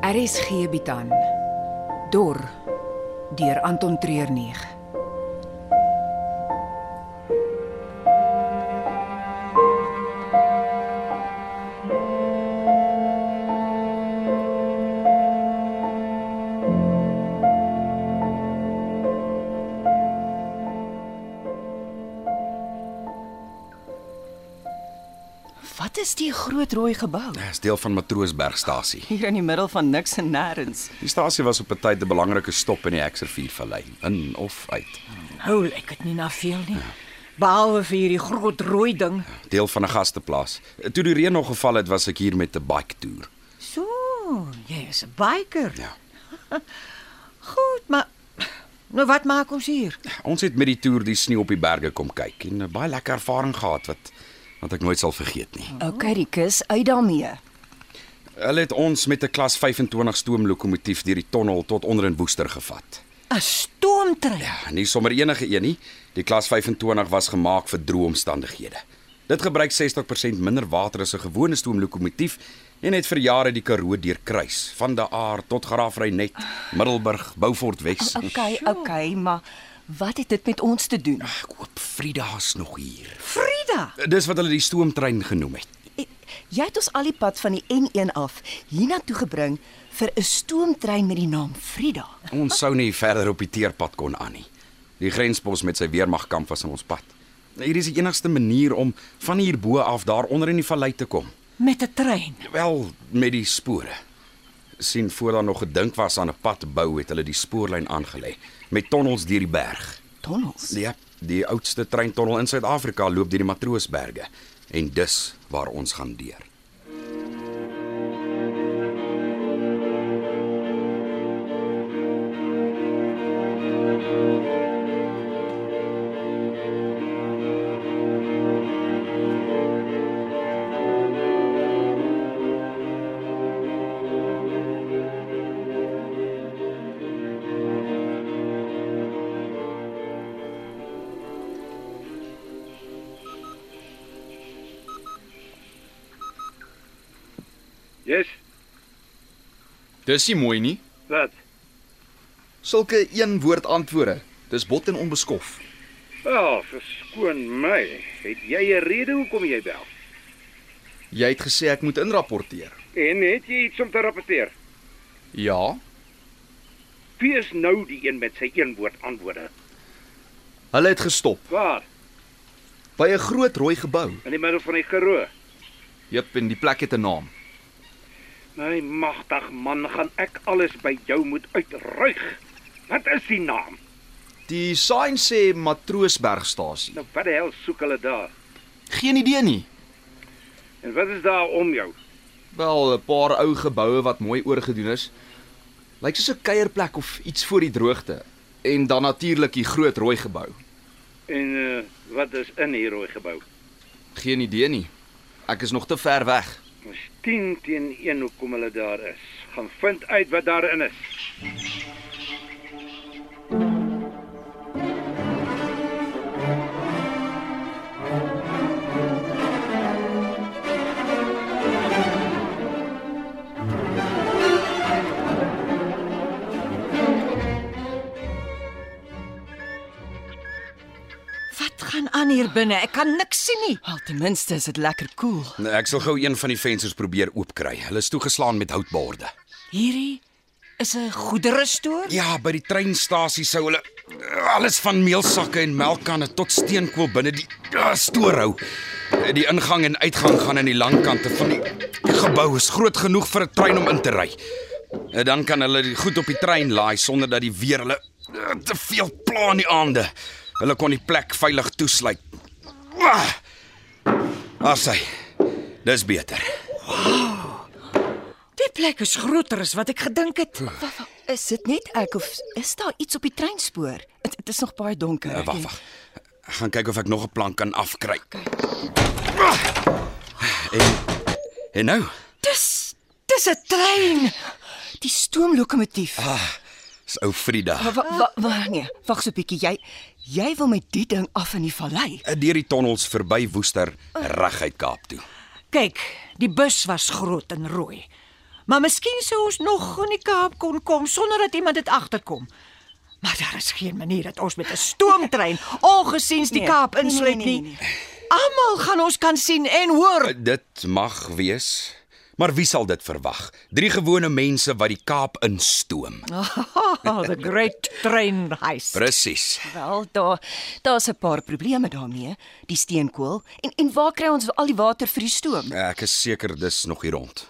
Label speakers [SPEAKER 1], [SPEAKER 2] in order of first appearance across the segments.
[SPEAKER 1] RSG bied aan Dor deur Anton Treuer 9.
[SPEAKER 2] Wat is die groot rooi gebou
[SPEAKER 3] Dis deel van Matroosbergstasie.
[SPEAKER 2] hier in die middel van niks en nêrens?
[SPEAKER 3] Die stasie was op 'n tyd 'n belangrike stop in die Hekservier vallei, in of uit.
[SPEAKER 2] Nou lyk dit nie na veel nie. Behalwe vir hierdie groot rooi ding.
[SPEAKER 3] Deel van 'n gasteplaas. Toe die reën nog geval het, was ek hier met 'n bike toer.
[SPEAKER 2] So, jy is 'n biker.
[SPEAKER 3] Ja.
[SPEAKER 2] Goed, maar nou wat maak ons hier?
[SPEAKER 3] Ons het met die toer die sneeu op die berge kom kyk en 'n baie lekker ervaring gehad wat wat ek nooit sal vergeet nie.
[SPEAKER 4] Okay, Rikus, uit daarmee.
[SPEAKER 3] Hulle het ons met 'n klas 25 stoomlokomotief deur die tonnel tot onder in Woester gevat.
[SPEAKER 2] 'n Stoomtrein. Ja.
[SPEAKER 3] En Ah, nie sommer enige een nie. Die klas 25 was gemaak vir droë omstandighede. Dit gebruik 60% minder water as 'n gewone stoomlokomotief en het vir jare die Karoo deurkruis, van Daar tot Graafry net, Middelburg, Beaufort Wes.
[SPEAKER 4] Oh, Okay, okay, maar wat het dit met ons te doen?
[SPEAKER 3] Ek hoop Frida's nog hier.
[SPEAKER 2] Frida.
[SPEAKER 3] Dis wat hulle die stoomtrein genoem het.
[SPEAKER 4] Jy het ons al die pad van die N1 af hiernatoe gebring vir 'n stoomtrein met die naam Frida.
[SPEAKER 3] Ons sou nie verder op die teerpad kon aan nie. Die grenspos met sy weermagkamp was in ons pad. Hier is die enigste manier om van hier bo af daar onder in die vallei te kom.
[SPEAKER 2] Met 'n trein.
[SPEAKER 3] Wel met die spore. sien voor daar nog gedink was aan 'n pad te bou, het hulle die spoorlyn aangelê met tonnels deur die berg.
[SPEAKER 4] Tonnels.
[SPEAKER 3] Ja, die oudste treintonnel in Suid-Afrika loop deur die Matroosberge en dis waar ons gaan deur.
[SPEAKER 5] Yes,
[SPEAKER 6] Dis nie mooi nie.
[SPEAKER 5] wat?
[SPEAKER 6] Sulke een woord antwoorde. Dis bot en onbeskof.
[SPEAKER 5] Wel, verskoon my. Het jy 'n rede hoekom jy bel?
[SPEAKER 6] Jy het gesê ek moet inrapporteer.
[SPEAKER 5] En het jy iets om te rapporteer?
[SPEAKER 6] Ja,
[SPEAKER 5] Wie is nou die een met sy een woord antwoorde?
[SPEAKER 6] hulle het gestop
[SPEAKER 5] Waar?
[SPEAKER 6] by 'n groot rooi gebou.
[SPEAKER 5] In die middel van die Karoo.
[SPEAKER 6] Jep, en die plek het 'n naam.
[SPEAKER 5] My magtig man, gaan ek alles by jou moet uitruig. Wat is die naam?
[SPEAKER 6] Die sign sê Matroosbergstasie.
[SPEAKER 5] Nou wat die hel soek hulle daar?
[SPEAKER 6] Geen idee nie.
[SPEAKER 5] En wat is daar om jou?
[SPEAKER 6] Wel, 'n paar ou geboue wat mooi oorgedoen is. Lyk soos 'n kuierplek of iets voor die droogte. En dan natuurlik die groot rooi gebou.
[SPEAKER 5] En uh, wat is in hier rooi gebou?
[SPEAKER 6] Geen idee nie. Ek is nog te ver weg.
[SPEAKER 5] Ons 10 teen 1 hoekom hulle daar is. Gaan vind uit wat daarin is.
[SPEAKER 2] Wat gaan aan hier binne? Ek kan niks sien nie. Al ten minste is dit lekker koel. Cool.
[SPEAKER 3] Nou, Ek sal gou een van die vensters probeer oopkry. Hulle is toegeslaan met houtborde.
[SPEAKER 2] Hierdie is 'n goedere stoor.
[SPEAKER 3] Ja, by die treinstasie sou hulle eh, alles van meelsakke en melkkanne tot steenkool binne die ah, stoor hou. Eh, Die ingang en uitgang gaan aan die langkante van die gebou is groot genoeg vir 'n trein om in te ry. Eh, Dan kan hulle die goed op die trein laai sonder dat die weer hulle eh, te veel pla in die aande. Hulle kon die plek veilig toesluit. Ah! Asai. Dis beter.
[SPEAKER 2] Die plek is groter as wat ek gedink het.
[SPEAKER 4] Is dit net ek of is daar iets op die treinspoor? Dit dit is nog baie donker.
[SPEAKER 3] Eh, Wag, wag. Ek gaan kyk of ek nog 'n plank kan afkry. En en nou,
[SPEAKER 2] Dis dis 'n trein.
[SPEAKER 4] Die stoomlokomotief.
[SPEAKER 3] is ou Frida.
[SPEAKER 4] Wag, wag, nee, wag so 'n bietjie. Jy jy wil met die ding af in die vallei.
[SPEAKER 3] eh, Deur die tonnels verby
[SPEAKER 4] Oh.
[SPEAKER 3] Woester reguit Kaap toe.
[SPEAKER 2] Kyk, die bus was groot en rooi. Maar miskien sou ons nog in die Kaap kon kom sonder dat iemand dit agterkom. Maar daar is geen manier dat ons met 'n stoomtrein ongesiens die
[SPEAKER 4] Nee,
[SPEAKER 2] Kaap
[SPEAKER 4] nee, nee,
[SPEAKER 2] insluit
[SPEAKER 4] nee, nee,
[SPEAKER 2] nie. Almal gaan ons kan sien en hoor.
[SPEAKER 3] Dit mag wees, maar wie sal dit verwag? Drie gewone mense wat die Kaap instoom.
[SPEAKER 2] Oh, the great train heist.
[SPEAKER 3] Presies.
[SPEAKER 4] Wel, daar daar's 'n paar probleme daarmee, die steenkool. En en waar kry ons al die water vir die stoom?
[SPEAKER 3] Ek is seker dis nog hier rond.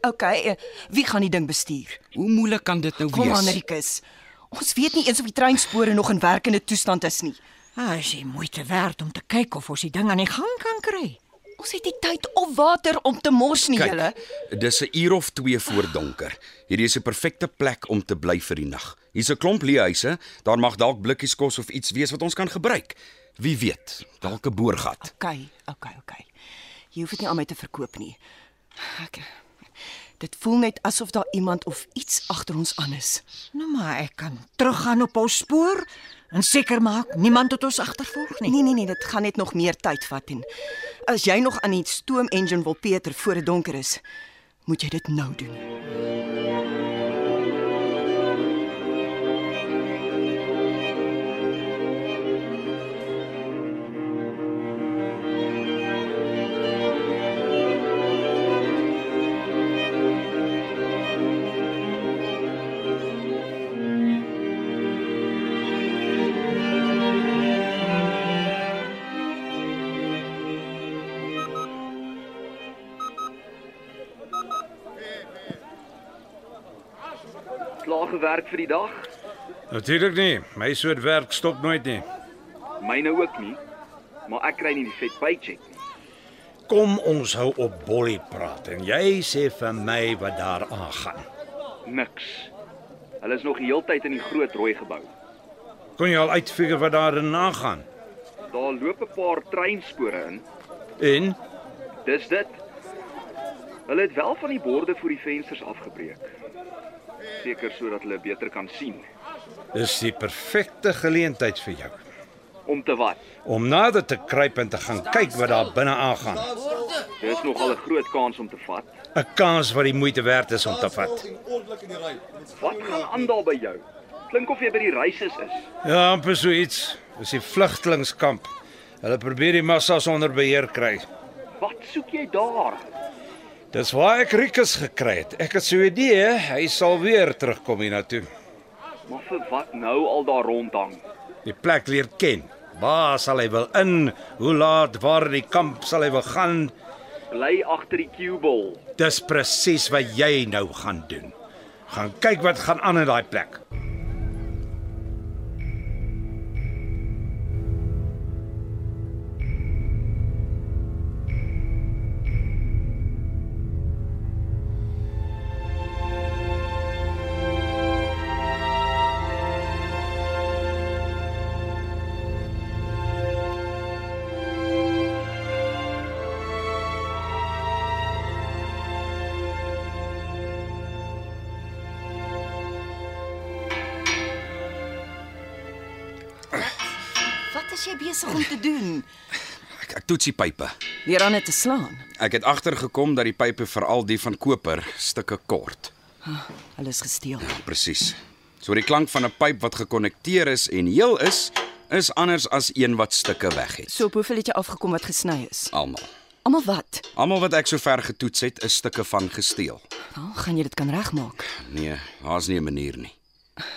[SPEAKER 4] OK, eh, wie gaan die ding bestuur?
[SPEAKER 3] Hoe moeilik kan dit nou
[SPEAKER 4] Kom
[SPEAKER 3] wees?
[SPEAKER 4] aan, Rikus. Ons weet nie eens of die treinspore nog in werkende toestand is nie.
[SPEAKER 2] Ah, is die moeite werd om te kyk of ons die ding aan die gang kan kry.
[SPEAKER 4] Ons het nie tyd of water om te mors nie, julle.
[SPEAKER 3] Kyk, dis 'n uur of 2 voor donker. Hierdie is 'n perfekte plek om te bly vir die nag. Hier's 'n klomp leehuise, daar mag dalk blikkies kos of iets wees wat ons kan gebruik. Wie weet, dalk 'n boorgat.
[SPEAKER 4] OK, OK, OK. Jy hoef dit nie aan my te verkoop nie. Ek Dit voel net asof daar iemand of iets agter ons aan is.
[SPEAKER 2] Nou maar ek kan teruggaan op ons spoor en seker maak niemand het ons agtervolg nie.
[SPEAKER 4] Nee nee nee, dit gaan net nog meer tyd vat en as jy nog aan die stoom engine wil Peter voor dit donker is, moet jy dit nou doen.
[SPEAKER 7] Klaar gewerk vir die dag?
[SPEAKER 8] Natuurlik nie. My soort werk stop nooit nie.
[SPEAKER 7] Myne ook nie. Maar ek kry nie die vet paycheck nie.
[SPEAKER 8] Kom ons hou op bollie praat en jy sê vir my wat daar aangaan.
[SPEAKER 7] Niks. Hulle is nog die heeltyd in die groot rooi gebou.
[SPEAKER 8] Kon jy al uitfigure wat daarin aangaan?
[SPEAKER 7] Daar loop 'n paar treinspore in.
[SPEAKER 8] En
[SPEAKER 7] Dis dit. Hulle het wel van die borde voor die vensters afgebreek. Seker sodat hulle beter kan sien.
[SPEAKER 8] dis die perfekte geleentheid vir jou
[SPEAKER 7] Om te wat?
[SPEAKER 8] om nader te kruip en te gaan kyk wat daar binne aangaan.
[SPEAKER 7] Dis Er nogal 'n groot kans om te vat.
[SPEAKER 8] 'n Kans wat die moeite werd is om te vat.
[SPEAKER 7] Wat gaan aan daar by jou? Klink of jy by die reises is.
[SPEAKER 8] Ja, amper so iets. Dis die vlugtelingskamp. Hulle probeer die massas onder beheer kry.
[SPEAKER 7] Wat soek jy daar?
[SPEAKER 8] Dis waar ek Rikus gekry het. Ek het so 'n idee, hy sal weer terugkom hiernatoe.
[SPEAKER 7] Maar vir wat nou al daar rondhang?
[SPEAKER 8] die plek leer ken. Waar sal hy wil in? Hoe laat waar in die kamp sal hy wil gaan?
[SPEAKER 7] Bly agter die cueball.
[SPEAKER 8] Dis presies wat jy nou gaan doen. Gaan kyk wat gaan aan in daai plek.
[SPEAKER 4] Wat is jy besig om te doen?
[SPEAKER 3] Ek, ek toets die pype.
[SPEAKER 4] Weer aan dit te slaan.
[SPEAKER 3] Ek het agtergekom dat die pype veral die van koper stukke kort.
[SPEAKER 4] Hulle is gesteel.
[SPEAKER 3] Presies. So die klank van 'n pyp wat gekonnekteer is en heel is, is anders as een wat stukke weg het.
[SPEAKER 4] So op hoeveel het jy afgekom wat gesny is?
[SPEAKER 3] Almal.
[SPEAKER 4] Almal wat?
[SPEAKER 3] Almal wat ek sover getoets het, is stukke van gesteel.
[SPEAKER 4] Nou, gaan jy dit kan regmaak?
[SPEAKER 3] Nee, daar's nie 'n manier nie.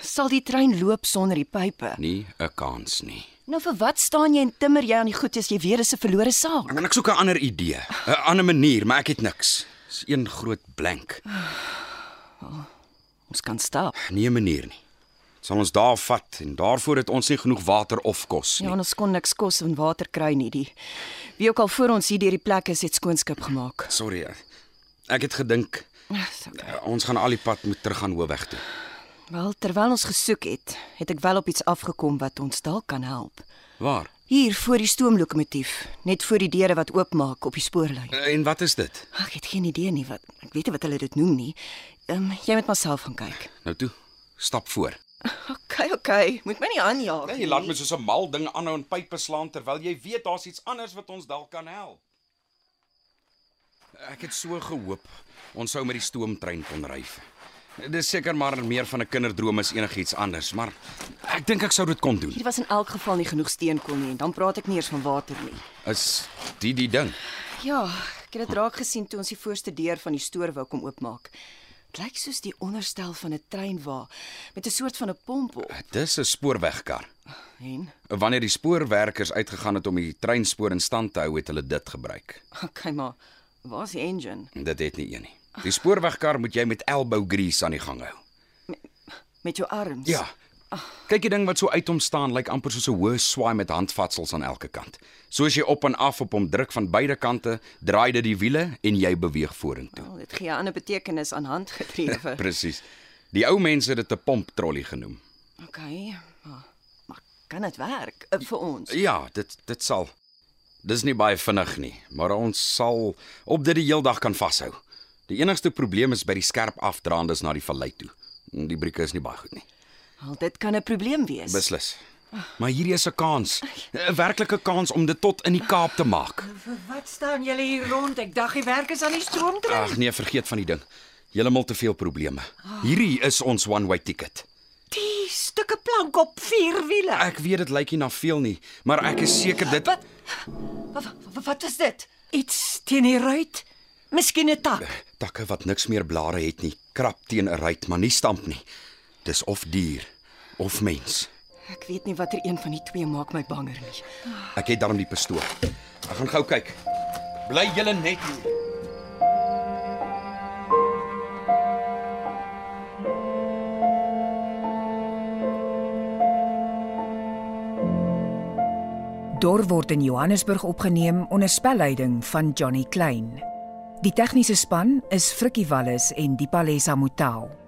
[SPEAKER 4] Sal die trein loop sonder die pype?
[SPEAKER 3] Nie 'n kans nie.
[SPEAKER 4] Nou vir wat staan jy en timmer jy aan die goed as jy weet dis 'n verlore saak?
[SPEAKER 3] En ek soek 'n ander idee, 'n ander manier, maar ek het niks. Dis een groot blank.
[SPEAKER 4] Ons kan stap.
[SPEAKER 3] Nee 'n manier nie. Het Sal ons daar vat en daarvoor het ons nie genoeg water of kos
[SPEAKER 4] Ja,
[SPEAKER 3] nie.
[SPEAKER 4] en ons kon niks kos en water kry nie die. Wie ook al voor ons hier deur die plek is, het skoonskip gemaak.
[SPEAKER 3] Sorry. Ek het gedink
[SPEAKER 4] Dis Okay.
[SPEAKER 3] eh, ons gaan al die pad moet terug aan Hoofweg toe.
[SPEAKER 4] Wel, terwyl ons gesoek het, het ek wel op iets afgekom wat ons dalk kan help.
[SPEAKER 3] Waar?
[SPEAKER 4] Hier voor die stoomlokomotief, net voor die deure wat oopmaak op die spoorlyn.
[SPEAKER 3] En wat is dit?
[SPEAKER 4] Ag, Ek het geen idee nie wat ek weet nie wat hulle dit noem nie. Ehm um, jy moet maar self gaan kyk.
[SPEAKER 3] Nou toe, stap voor.
[SPEAKER 4] OK, OK, moet my nie aanjaag
[SPEAKER 3] Nee, jy laat my soos 'n mal ding aanhou en pype slaan terwyl jy weet daar's iets anders wat ons dalk kan help. Ek het so gehoop ons sou met die stoomtrein kon ryf. Dis seker maar meer van 'n kinderdroom as enigiets anders, maar ek dink ek sou dit kon doen.
[SPEAKER 4] Hier was in elk geval nie genoeg steenkool nie en dan praat ek nie eers van water nie.
[SPEAKER 3] Is die die ding?
[SPEAKER 4] Ja, ek het dit raak gesien toe ons die voorste deur van die stoor wou kom oopmaak. Dit lyk soos die onderstel van 'n treinwa met 'n soort van 'n pomp op.
[SPEAKER 3] Dis 'n spoorwegkar.
[SPEAKER 4] En
[SPEAKER 3] Wanneer die spoorwerkers uitgegaan het om die treinspoor in stand te hou, het hulle dit gebruik.
[SPEAKER 4] okay, maar waar's die engine?
[SPEAKER 3] Dit het nie een nie. Die spoorwegkar moet jy met elbow grease aan die gang hou.
[SPEAKER 4] Met jou arms.
[SPEAKER 3] Ja. Kyk die ding wat so uit hom staan lyk amper soos 'n hoë swaai met handvatsels aan elke kant. Soos jy op en af op hom druk van beide kante, draai dit die wiele en jy beweeg vorentoe.
[SPEAKER 4] Wel, dit gee 'n ander betekenis aan handgedrewe.
[SPEAKER 3] Presies. Die ou mense het dit 'n pomptrollie genoem.
[SPEAKER 4] okay. Maar, maar kan dit werk uh, vir ons?
[SPEAKER 3] Ja, dit dit sal. Dis nie baie vinnig nie, maar ons sal op dit die heeldag kan vashou. Die enigste probleem is by die skerp afdraandes na die vallei toe. Mm, Die brieke is nie baie goed nie.
[SPEAKER 4] Al dit kan 'n probleem wees.
[SPEAKER 3] Beslis. Maar hierdie is 'n kans, 'n werklike kans om dit tot in die Kaap te maak.
[SPEAKER 2] Wat staan julle hier rond? Ek dink die werk is aan die stroomtrein.
[SPEAKER 3] Ag nee, vergeet van die ding. Heeltemal te veel probleme. Hierdie is ons one-way ticket.
[SPEAKER 2] Die stukke plank op vier wiele.
[SPEAKER 3] Ek weet dit lyk nie na veel nie, maar ek is seker dit
[SPEAKER 2] Wat? Wat wat, wat is dit? Iets teen die ruit? Miskien 'n tak.
[SPEAKER 3] takke wat niks meer blare het nie, krap teen 'n ruit, maar nie stamp nie. Dis of dier of mens.
[SPEAKER 4] Ek weet nie watter een van die twee maak my banger nie.
[SPEAKER 3] Ek het daarom die pistool. Ek gaan gou kyk. Bly julle net hier.
[SPEAKER 1] Dor word in Johannesburg opgeneem onder spelleiding van Johnny Klein. Die tegniese span is Frikkie Wallis en Dipalesa Motelo.